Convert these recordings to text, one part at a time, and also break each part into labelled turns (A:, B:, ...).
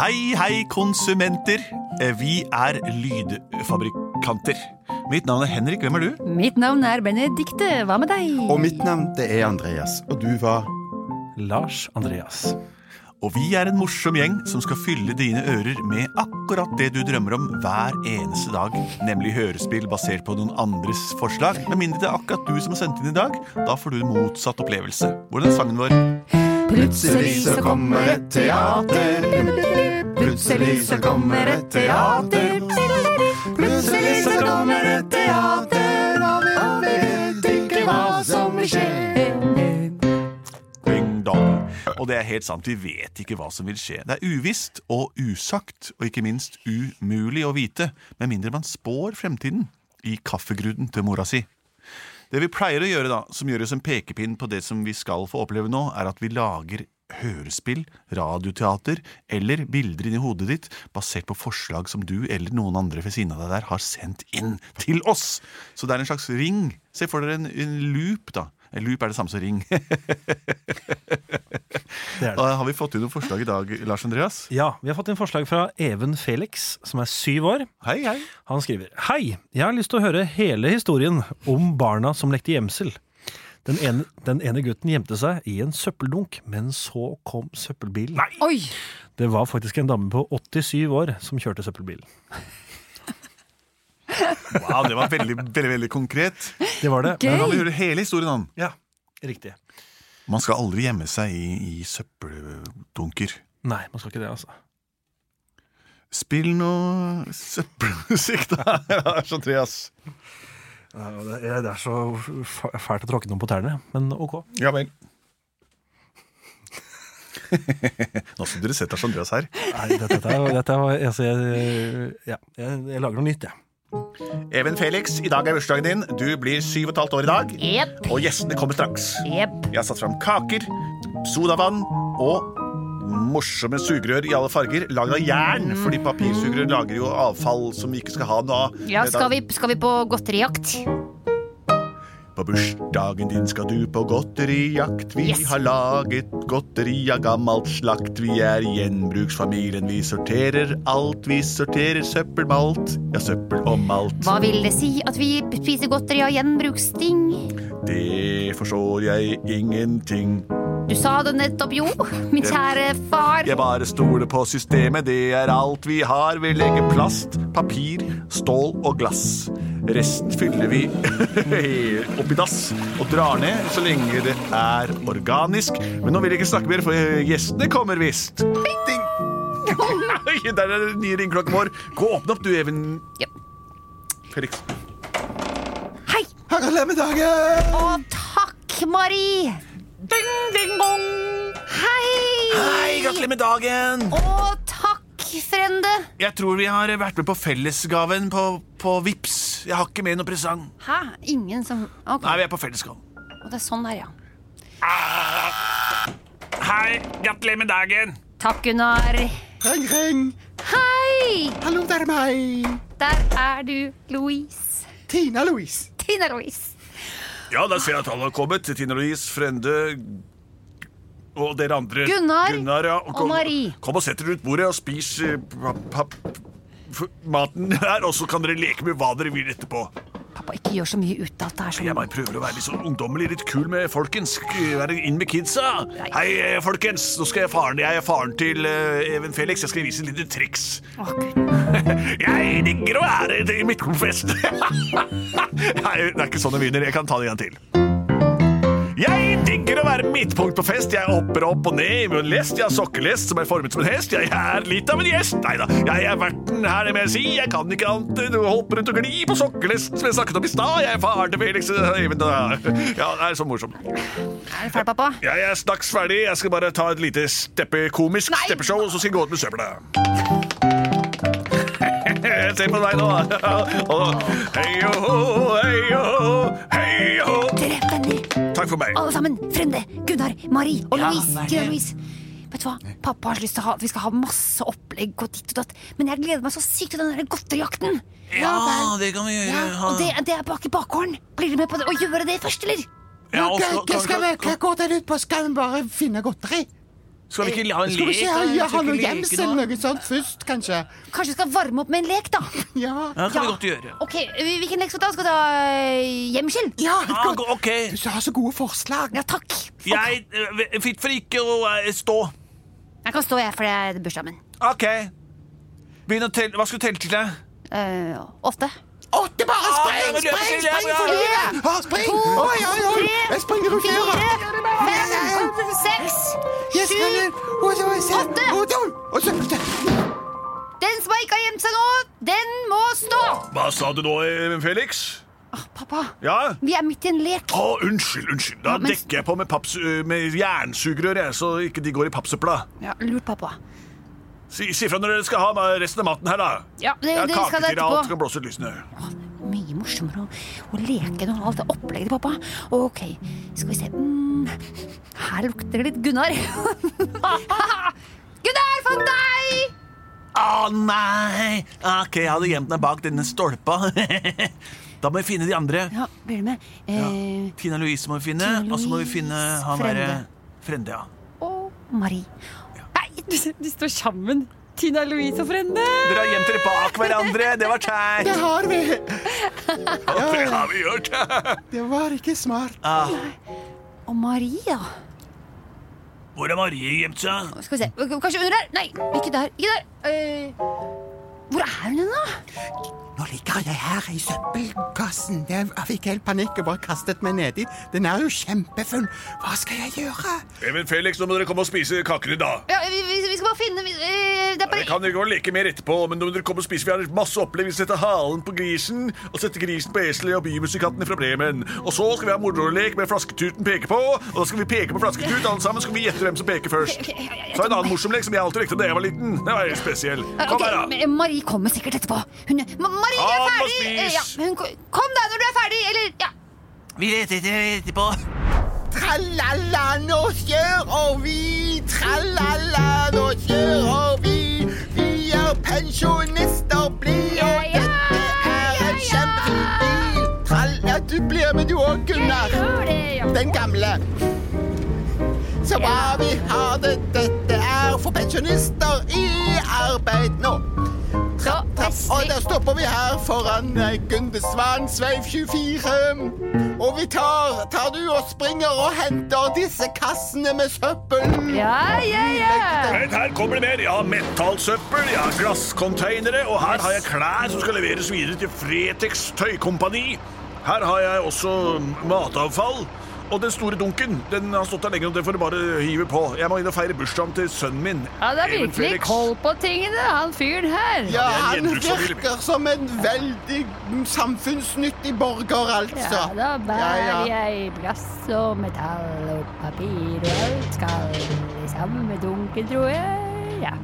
A: Hei, hei, konsumenter. Eh, Vi er lydfabrikanter. Mitt navn er Henrik. Hvem er du?
B: Mitt navn er Benedikte. Hva med deg?
C: Og mitt navn det er Andreas, og du var
D: Lars Andreas.
A: Og vi er en morsom gjeng som skal fylle dine ører med akkurat det du drømmer om hver eneste dag. Nemlig hørespill basert på noen andres forslag. Med mindre det er akkurat du som har sendt inn i dag. Da får du en motsatt opplevelse. Hvordan er sangen vår?
C: Plutselig så kommer et teater. Plutselig så kommer et teater. Plutselig så kommer et teater, og vi vet ikke hva som vil skje.
A: Ding dong. Og det er helt sant, vi vet ikke hva som vil skje. Det er uvisst og usagt, og ikke minst umulig å vite, med mindre man spår fremtiden i kaffegruden til mora si. Det vi pleier å gjøre da, som gjør oss en pekepinn på det som vi skal få oppleve nå, er at vi lager hørespill, radioteater eller bilder inni hodet ditt basert på forslag som du eller noen andre ved siden av deg der har sendt inn til oss. Så det er en slags ring. Se for dere en, en loop, da. En loop er det samme som ring.
D: Det er det.
A: Da har vi fått inn noen forslag i dag, Lars Andreas.
D: Ja, Vi har fått inn forslag fra Even Felix, som er syv år.
A: Hei, hei.
D: Han skriver Hei, jeg har lyst til å høre hele historien om barna som lekte gjemsel. Den ene, den ene gutten gjemte seg i en søppeldunk, men så kom søppelbilen.
B: Oi!
D: Det var faktisk en dame på 87 år som kjørte søppelbilen.
A: Wow, det var veldig, veldig, veldig konkret.
D: Det var det.
B: Gøy.
A: Men han vil høre hele historien han.
D: ja, riktig.
A: Man skal aldri gjemme seg i, i søppeldunker.
D: Nei, man skal ikke det, altså.
A: Spill noe søppelmusikk, da, Lars Andreas.
D: Det er, så fælt å tråkke noen på tærne, men ok.
A: Ja vel. Nå skulle dere sett Lars Andreas her.
D: Nei, dette, er- dette er- altså, jeg, ja, jeg, jeg lager noe nytt, jeg.
A: Even Felix, i dag er bursdagen din. Du blir syv og et halvt år i dag.
B: Jepp.
A: Og gjestene kommer straks.
B: Jepp.
A: Jeg har satt fram kaker, sodavann og morsomme sugerør i alle farger. Lagd av jern,
B: Mm.
A: fordi papirsugerør lager jo avfall som vi ikke skal ha nå.
B: Ja, skal vi, skal vi på godterijakt?
A: På bursdagen din skal du på godterijakt. Vi
B: Yes.
A: har laget godteri av gammelt slakt. Vi er gjenbruksfamilien. Vi sorterer alt. Vi sorterer søppelmalt. Ja, søppel og malt.
B: Hva vil det si at vi spiser godteri av gjenbruksting?
A: Det forstår jeg ingenting.
B: Du sa det nettopp, jo, min kjære far.
A: Jeg bare stoler på systemet, det er alt vi har. Vi legger plast, papir, stål og glass. Resten fyller vi opp i dass og drar ned så lenge det er organisk. Men nå vil jeg ikke snakke mer, for gjestene kommer visst. Ding! Oi, Der er den nye ringeklokken vår. Gå og åpne opp, du, Even.
B: Ja.
A: Felix.
B: Hei!
C: Gratulerer!
B: Å, takk, Marie! Ding, ding, bong! Hei!
A: Hei, gratulerer med dagen!
B: Å, takk, frende.
A: Jeg tror vi har vært med på fellesgaven på, på Vips. Jeg har ikke med noen presang.
B: Hæ? Ingen som Ok,
A: Nei, vi er på fellesgaven.
B: det er sånn der, ja.
A: Hei, gratulerer med dagen!
B: Takk, Gunnar.
C: Ring, ring.
B: Hei!
C: Hallo, det er meg.
B: Der er du, Louise.
C: Tina Louise.
B: Tina Louise.
A: Ja, da ser jeg at alle har kommet. Tine Louise, Frende og dere andre.
B: Gunnar
A: ja.
B: og Marie.
A: Kom og sett dere rundt bordet og spis eh, pa, pa, f- maten her, og så kan dere leke med hva dere vil etterpå.
B: Pappa, ikke gjør så mye ut av at det er
A: Jeg
B: sånn.
A: bare prøver å være litt sånn ungdommelig, litt kul med folkens. Sk- Være inn med kidsa. Hei, eh, folkens. Nå skal jeg faren, jeg er faren til eh, Even Felix. Jeg skal vise et lite triks.
B: Å, Gud.
A: Jeg digger å være i midtkonfest. Nei, det er ikke sånn det begynner. Jeg kan ta det en gang til. Jeg digger å å være midtpunkt på fest. Jeg hopper opp og ned i min lest. Jeg har sokkelest som er formet som en hest. Jeg er litt av en gjest. Nei da, jeg er verten her, det må jeg si. Jeg kan ikke annet enn å hoppe rundt og gli på sokkelest, som jeg snakket om i stad. Jeg er faren til Felix eh, Even, da. Ja, det er så morsomt.
B: Er du ferdig, pappa?
A: Jeg er straks ferdig. Jeg skal bare ta et lite steppekomisk
B: Nei!
A: steppeshow, og så skal jeg gå ut med søpla. Se på meg nå. Og Hei og hå, hei og hå, hei og hå.
B: Dere venner,
A: Takk for meg.
B: alle sammen. Frende, Gunnar, Mari og Louise. Tina Louise. Vet du hva? Pappa har så lyst til å ha at vi skal ha masse opplegg og ditt og datt, men jeg gleder meg så sykt til den der godterijakten.
C: Ja, det kan vi gjøre.
B: Ja, og det, det er bak i bakgården. Blir du med på det, å gjøre det først, eller?
C: Ja,
A: og
C: skal,
A: så-
C: skal, skal, vi- skal, gå der ut på, skal vi bare finne godteri?
A: Skal vi ikke ha
C: Skal vi ikke ha, ja, ha noe gjems eller noe sånt først, kanskje?
B: Kanskje vi skal varme opp med en lek, da?
C: Ja.
E: Ja, det kan vi godt gjøre.
B: Ok, Hvilken lek skal vi ta? Skal vi ta øh, gjemsel?
C: Ja, et
E: Ah,
C: godt.
E: ok.
C: Du har så gode forslag.
B: Ja, takk.
E: Jeg eh, Fritt for ikke å eh, stå.
B: Jeg kan stå, jeg, for det er bursdagen min.
E: Ok. Begynn å telle. Hva skal du telle til? deg?
B: Øh, åtte.
C: Åtte, bare
E: ja,
C: spring!
E: men du er på
C: Spring,
E: siden, ja,
C: spring
E: ja,
C: for
E: ja.
C: livet! Ah, Spring! Oi, oi, oi! Jeg springer ut
B: fire,
C: døra.
B: fem, seks
C: Jeg springer. Oi, oi, se.
B: åtte.
C: Oi, oi. Oi, se.
B: Den som ikke har gjemt seg nå, den må stå!
A: Hva sa du nå, eh, Felix?
B: Pappa,
A: Ja?
B: vi er midt i en lek.
A: Å, unnskyld, unnskyld. Da
B: Ja, men-
A: dekker jeg på med, papps, med jernsugerør, jeg, så ikke de går i pappsøpla.
B: Ja, lurt, pappa.
A: Si, si fra når dere skal ha resten av maten her, da.
B: Ja, det,
A: Jeg
B: det
A: har
B: skal
A: kake
B: det
A: til alt,
B: etterpå.
A: skal blåse ut lysene.
B: Mye morsommere å, å leke når alt er opplegget til pappa. Ok, skal vi se mm, Her lukter det litt Gunnar. Gunnar, fant deg!
E: Å nei! Ok, jeg hadde gjemt meg bak denne stolpa. da må vi finne de andre.
B: Ja, blir du med? Eh,
E: Tina Louise må vi finne,
B: Tina
E: og så må vi
B: Louise,
E: finne han
B: Frende.
E: derre Frende, ja.
B: Og Marie. Nei, de, de står sammen. Tina Louise og Frende.
E: Dere har gjemt dere bak hverandre. Det var teit.
C: Det har vi.
A: Det har vi gjort.
C: Det var ikke smart.
E: Ah,
B: Og Marie, da.
E: hvor har Marie gjemt seg?
B: Skal vi se. Kanskje under der? Nei, ikke der. Ikke der. Eh, hvor er hun hen, da?
C: Nå ligger jeg her i søppelkassen. Det- Jeg fikk helt panikk og bare kastet meg nedi. Den er jo kjempefull. Hva skal jeg gjøre?
A: Even Felix, nå må dere komme og spise kaker i dag.
B: Ja, vi, vi, vi skal bare finne vi, eh, Det
A: Dere
B: er bare
A: kan ikke gå og leke mer etterpå, men når dere kommer og spiser, vi har masse opplegg. Vi setter halen på grisen, og setter grisen på eselet og bymusikantene fra Bremen. Og så skal vi ha morolek med flasketuten peker på, og da skal vi peke på flasketut, alle sammen skal vi gjette hvem som peker først.
B: Ok, ok, jeg- jeg-
A: Så en annen morsom lek som jeg alltid lekte da jeg var liten. Det var helt spesiell.
B: Eh,
A: Kom
B: ok,
A: her, da.
B: men Marie kommer sikkert etterpå. Hun, Ma- Marie, du er
A: Kom og
B: ferdig! Eh, Ja,
A: spis.
B: hun, ko- kom da når du er ferdig, eller ja.
E: Vi leter etter etterpå.
C: Tralala, nå kjører vi! Tralala, nå kjører vi! Vi er pensjonister, blide,
B: Ja,
C: og
B: ja,
C: dette er en
B: ja, ja.
C: kjempefin bil! Tralla, du blir med du òg, Gunnar. Den gamle. Så bra vi har det. Dette er for pensjonister i arbeid nå.
B: Så
C: Trapp, og der
B: festlig.
C: stopper vi her foran eh, Gunde Svans vei 24. Og vi tar, tar du og springer og henter disse kassene med søppel.
B: Ja,
C: Mm,
B: ja, ja.
A: Men her kommer det mer. Jeg har metallsøppel, jeg har glasscontainere, og her har jeg klær som skal leveres videre til Fretex tøykompani. Her har jeg også matavfall. Og den store dunken den har stått der lenge, og det får du bare hive på. Jeg må inn og feire bursdagen til sønnen min.
F: Ja, det er
A: Even
F: virkelig
A: Felix.
F: koll på tingene, han fyren her.
C: Ja,
A: Ja, det er en
C: han
A: gjenbruksfamilie.
C: virker som en veldig samfunnsnyttig borger, altså.
F: Ja, da bærer
C: Ja, ja.
F: jeg glass og metall og papir og alt skal i sammen med dunken, tror jeg. Ja.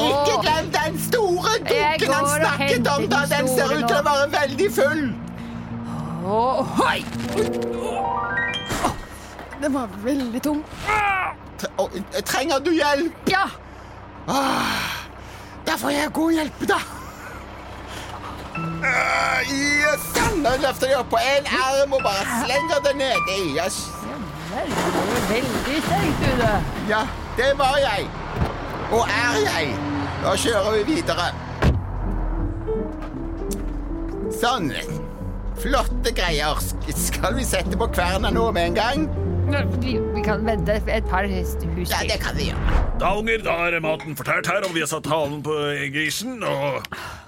C: Ikke
F: Åh.
C: glem den store dunken
F: går
C: han
F: og
C: snakket om,
F: henter
C: da.
F: den
C: Den ser
F: store
C: ut til å
F: nå.
C: være veldig full.
F: Å, hoi! Den var veldig tung.
C: T- og, eh, Trenger du hjelp? Ah,
F: Ja,
C: Da får jeg god hjelp, da. Ah, Yes. Sånn, Nå løfter jeg opp på én arm og bare slenger det nedi. Yes.
F: den var veldig sterk, du da.
C: Ja, det var jeg. Og er jeg. Da kjører vi videre. Sånn. Flotte greier. Sk- Skal vi sette på kverna nå med en gang?
F: Nå, Vi, vi kan vente et par hus hus
C: Ja,
F: til.
C: det kan vi gjøre.
A: Da, unger, da er maten fortært her, og vi har satt halen på grisen. Og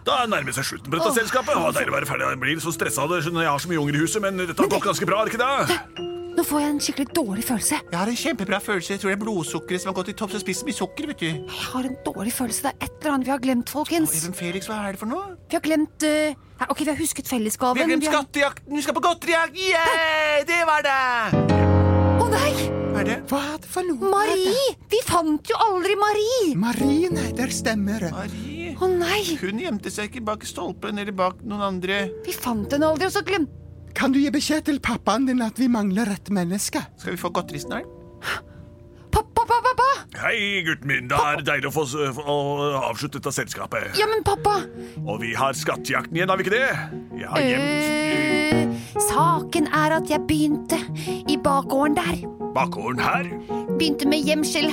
A: da nærmer det seg slutten på dette selskapet. Å, deilig å være ferdig. Jeg blir så stressa av det når jeg har så mye unger i huset, men dette har gått ganske bra, er det ikke det?
B: Nå får jeg en skikkelig dårlig følelse.
E: Jeg har en kjempebra følelse. Jeg tror det er blodsukkeret som har gått i topp, så spiser mye sukker, vet du.
B: Jeg har en dårlig følelse. Det er et eller annet vi har glemt, folkens.
E: Even Felix, hva er det for noe?
B: Vi har glemt eh, nei, Ok, vi har husket fellesgaven.
E: Vi har glemt
B: vi
E: skattejakten! Vi skal på godterijakt! Yeah! Det var det!
B: Å nei!
E: Hva er det?
D: Hva er det for noe?
B: Marie! Vi fant jo aldri Marie!
D: Marie, nei, der stemmer det.
E: Marie.
B: Å nei!
E: Hun gjemte seg ikke bak stolpen eller bak noen andre.
B: Vi fant henne aldri, og så glemte
D: Kan du gi beskjed til pappaen din at vi mangler et menneske?
E: Skal vi få godteri snart?
B: Pappa, pappa, pappa!
A: Hei, gutten min. Det er deilig å få s- å avslutte dette selskapet.
B: Ja, men pappa!
A: Og vi har skattejakten igjen, har vi ikke det? Jeg har gjemt
B: Eh, saken er at jeg begynte i bakgården der.
A: bakgården her.
B: Begynte med gjemsel.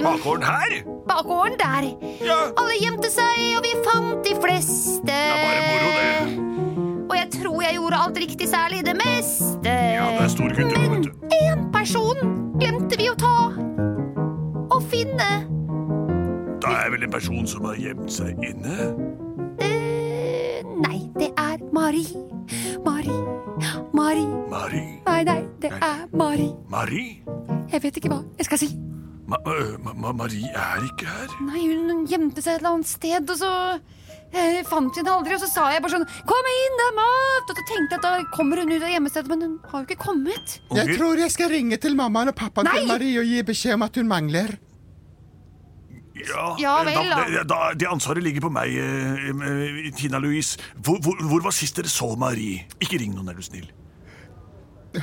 A: Bakgården her?
B: Bakgården der.
A: Ja.
B: Alle gjemte seg, og vi fant de fleste. Det
A: er bare moro, det.
B: Og jeg tror jeg gjorde alt riktig, særlig det meste.
A: Ja, det er store gutter, vet du.
B: Men én person glemte vi å ta. Å finne.
A: Da er vel en person som har gjemt seg inne?
B: Eh, nei, det er Marie. Marie. Marie.
A: Marie.
B: Nei, nei, det er Marie.
A: Marie?
B: Jeg vet ikke hva jeg skal si.
A: Ma øh, ma ma Marie er ikke her.
B: Nei, hun gjemte seg et eller annet sted, og så eh, fant vi henne aldri. Og så sa jeg bare sånn 'Kom inn, det er mat!' Og så tenkte jeg at da kommer hun ut av gjemmestedet, men hun har jo ikke kommet.
D: Jeg
A: Unger,
D: tror jeg skal ringe til mammaen og pappaen til
B: Nei!
D: Marie og gi beskjed om at hun mangler.
A: Ja,
B: Ja vel, da.
A: det- da det ansvaret ligger på meg, eh, eh, Tina Louise. Hvor, hvor, hvor var sist dere så Marie? Ikke ring noen, er du snill.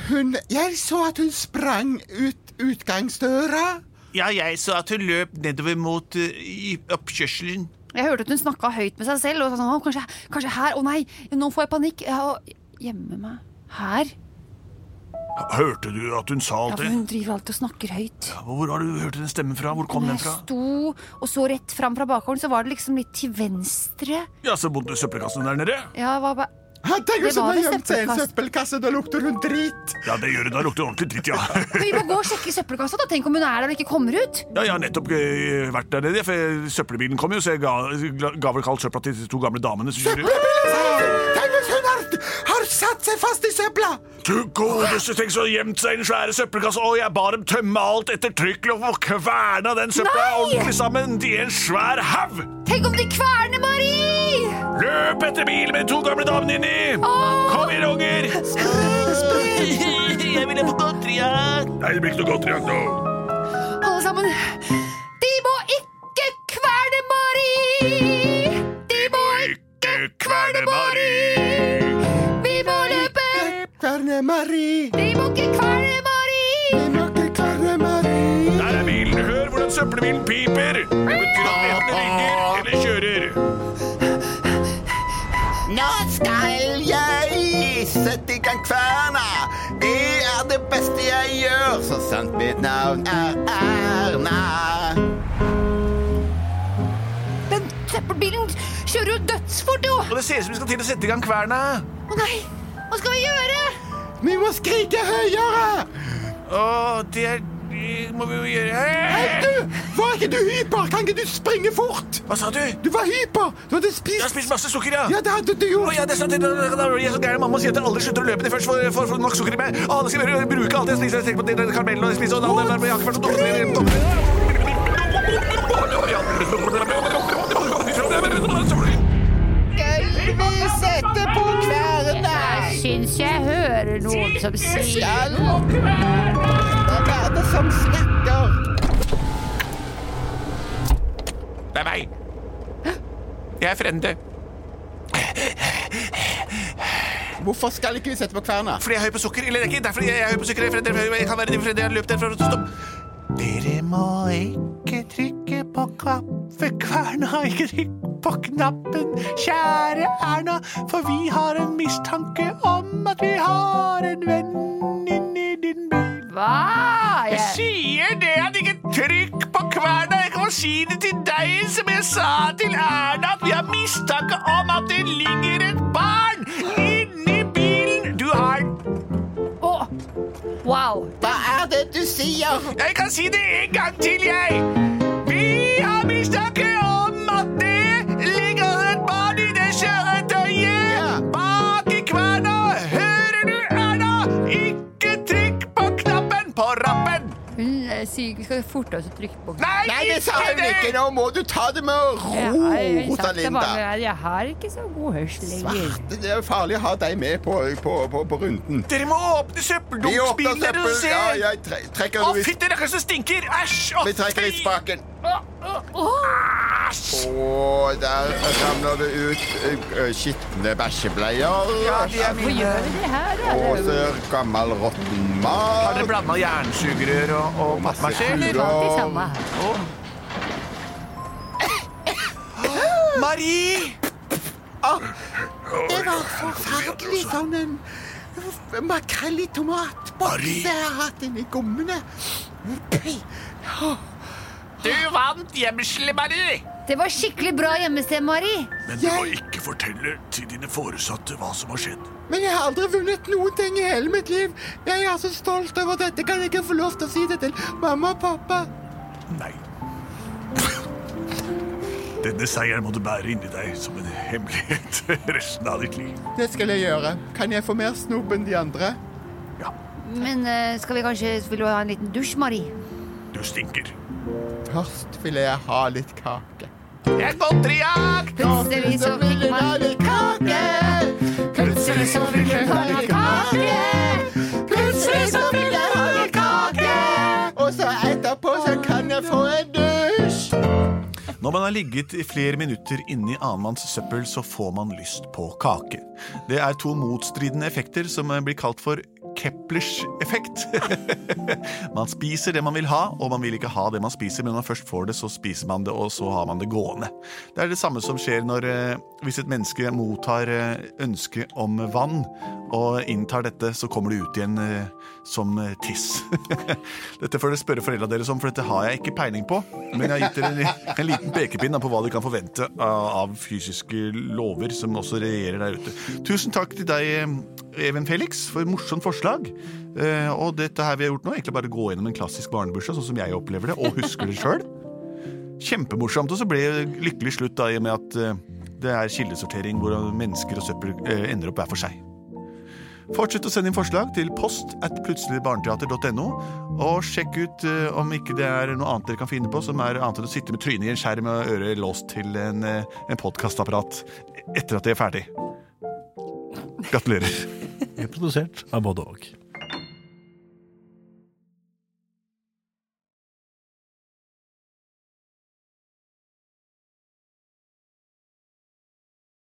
D: Hun Jeg så at hun sprang ut utgangsdøra.
E: Ja, jeg så at hun løp nedover mot eh, i oppkjørselen.
B: Jeg hørte at hun snakka høyt med seg selv. Og sånn, «Å, kanskje, 'Kanskje her? Å nei, nå får jeg panikk.' Ja, og gjemme meg her.
A: Hørte du at hun sa
B: Ja,
A: alt
B: for
A: det?
B: hun driver alltid og snakker høyt.
A: Hvor har du hørt den stemmen fra? Hvor kom den
B: Jeg
A: fra?
B: sto og så rett fram fra bakgården, så var det liksom litt til venstre.
A: Ja, så bodde søppelkassen der nede?
B: Ja, hva ba-
D: Han tenker
B: Det
D: som
B: var
D: har
B: vel
D: gjemt seg i en
B: søppelkasse.
D: søppelkasse. Da lukter hun drit.
A: Ja, det gjør det. Da lukter det ordentlig dritt, ja.
B: Vi må gå og sjekke i søppelkassa, da. Tenk om hun er der og ikke kommer ut.
A: Ja, jeg har nettopp eh, vært der nede, for søppelbilen kom jo, så jeg ga, ga vel kaldt søpla til de to gamle damene som kjører.
D: Tenk hvis hun har, har satt seg fast i søpla!
A: Du godeste, tenk så gjemt seg i den svære søppelkassa, og jeg ba dem tømme alt etter trykkel og kverna den søpla
B: Nei!
A: ordentlig sammen i en svær haug!
B: Tenk om de kverner Marie!
A: Løp etter bilen med de to gamle damene inni! Kom igjen, unger!
E: Jeg ville på godterijakt!
A: Nei, det blir ikke noe godt igjen nå.
B: Alle sammen. De må ikke kverne Marie! De må ikke
A: Ikke kverne Marie!
B: Vi må løpe!
D: Kverne Marie,
B: De må ikke kverne Marie!
D: vi må ikke kverne Marie.
A: Der er bilen. Hør hvordan søppelbilen piper! Det betyr at vedene ligger eller kjører.
C: Nå skal jeg sette i gang kverna. Det er det beste jeg gjør, så sant mitt navn er Erna.
B: Den søppelbilen kjører jo dødsfort, jo!
E: Og det ser ut som vi skal til å sette i gang kverna.
B: Å nei! Hva skal vi gjøre?
D: Vi må skrike høyere!
E: Å, det, er, det må vi jo gjøre.
D: Hei, du! Var ikke du hyper? Kan ikke du springe fort?
E: Hva sa du?
D: Du var hyper! Du hadde
E: Jeg har
D: spist
E: spist masse sukker, ja.
D: Ja, det hadde du
E: Å, ja,
D: gjort.
E: det er sant. Det er- det er- Jeg er så gæren. Mamma sier at jeg aldri slutter å løpe til først får- får får nok sukker i meg. Å, nå skal jeg bruke alt jeg spiser. Jeg tenker på det, det karamellen og jeg spiser, og det andre. Jeg har ikke vært så dårlig til det.
C: Skal vi sette på kverna?
G: Syns jeg hører noen som sier
C: Skal Hvem er det som snakker?
E: Det er meg. Jeg er frende.
D: Hvorfor skal ikke vi sette på kverna?
E: Fordi jeg er høy på sukker. Eller ikke derfor jeg er høy på sukker. Jeg, er frende, for jeg kan være din frende. Jeg har løpt derfra. Stopp. Dere må ikke trykke på kaffekverna. Ikke trykk på knappen, kjære Erna, for vi har en mistanke om at vi har en venn inni din bil.
G: Hva?
E: Jeg
G: Jeg,
E: sier det at ikke trykk på kverna. Jeg kan si det til deg som jeg sa til Erna, at vi har mistanke om at det ligger et barn inni bilen. Du har
G: å, wow.
C: Hva er det du sier?
E: Jeg kan si det en gang til, jeg. Vi har mistanke om at det ligger et barn i det kjøretøyet bak i kverna. Hører du, Erna? Ikke
F: eh, skal forte oss å trykke på
C: Nei, det sa hun ikke! Nå må du ta det med ro,
F: Jeg har sagt det mange
C: Rosalinda.
F: ganger, jeg har ikke så god hørsel lenger.
C: Svarte, det er jo farlig å ha deg med på, på, på, på runden.
E: Dere må åpne
C: Vi åpner
E: søppeldunksbilen
C: søppel.
E: og se!
C: Ja, jeg tre trekker
E: Å,
C: ut-
E: fytti rakkeren som stinker! Æsj! å,
C: Vi trekker i
E: fy!
C: spaken.
E: Æsj!
C: Og der ramler det ut ø, ø, skitne bæsjebleier.
E: Ja, de er
F: Hvorfor
E: mine.
F: gjør vi det her? da?
C: Og så gammel råtten mat.
E: Har dere blanda jernsugerør og, og mattmaskin,
F: Det er
E: eller?
F: alltid samme her.
E: Marie!
C: Det var forferdelig sånn en makrell i tomatboks jeg har hatt inni gommene.
E: Du vant hjemselet, Marie!
B: Det var skikkelig bra gjemmested, Mari.
H: Men du må ikke fortelle til dine foresatte hva som har skjedd.
C: Men jeg har aldri vunnet noen ting i hele mitt liv. Jeg er så stolt over dette. Kan jeg ikke få lov til å si det til mamma og pappa?
H: Nei. Denne seieren må du bære inni deg som en hemmelighet resten av ditt liv.
C: Det skal jeg gjøre. Kan jeg få mer snobb enn de andre?
B: Men eh, skal vi kanskje Vil du ha en liten dusj, Mari?
H: Du stinker.
C: Først ville jeg ha litt kake.
E: Det er godterijakt!
B: Plutselig så fikk man
C: litt kake. Plutselig så vil jeg ha litt kake. Plutselig så vil jeg ha litt kake. Og så etterpå så kan jeg få en dusj.
A: Når man har ligget i flere minutter inni annenmanns søppel, så får man lyst på kake. Det er to motstridende effekter som eh, blir kalt for Keplers effekt. man spiser det man vil ha, og man vil ikke ha det man spiser, men når man først får det, så spiser man det, og så har man det gående. Det er det samme som skjer når, eh, hvis et menneske mottar eh, ønske om vann og inntar dette, så kommer det ut igjen eh, som eh, tiss. dette får dere spørre foreldra deres om, for dette har jeg ikke peiling på. Men jeg har gitt dere en, en liten pekepinn da på hva de kan forvente av, av fysiske lover som også regjerer der ute. Tusen takk til deg, eh, Even Felix, for morsomt forslag. Eh, og dette her vi har gjort nå, er egentlig bare å gå gjennom en klassisk barnebursdag, sånn som jeg opplever det, og husker det sjøl. Kjempemorsomt. Og så ble det lykkelig slutt da, i og med at eh, det er kildesortering hvor mennesker og søppel eh, ender opp hver for seg. Fortsett å sende inn forslag til post at plutseligbarneteater.no, og sjekk ut eh, om ikke det er noe annet dere kan finne på som er annet enn å sitte med trynet i en skjerm og øret låst til en, eh, en podkastapparat etter at det er ferdig. Gratulerer.
D: Produsert av både og.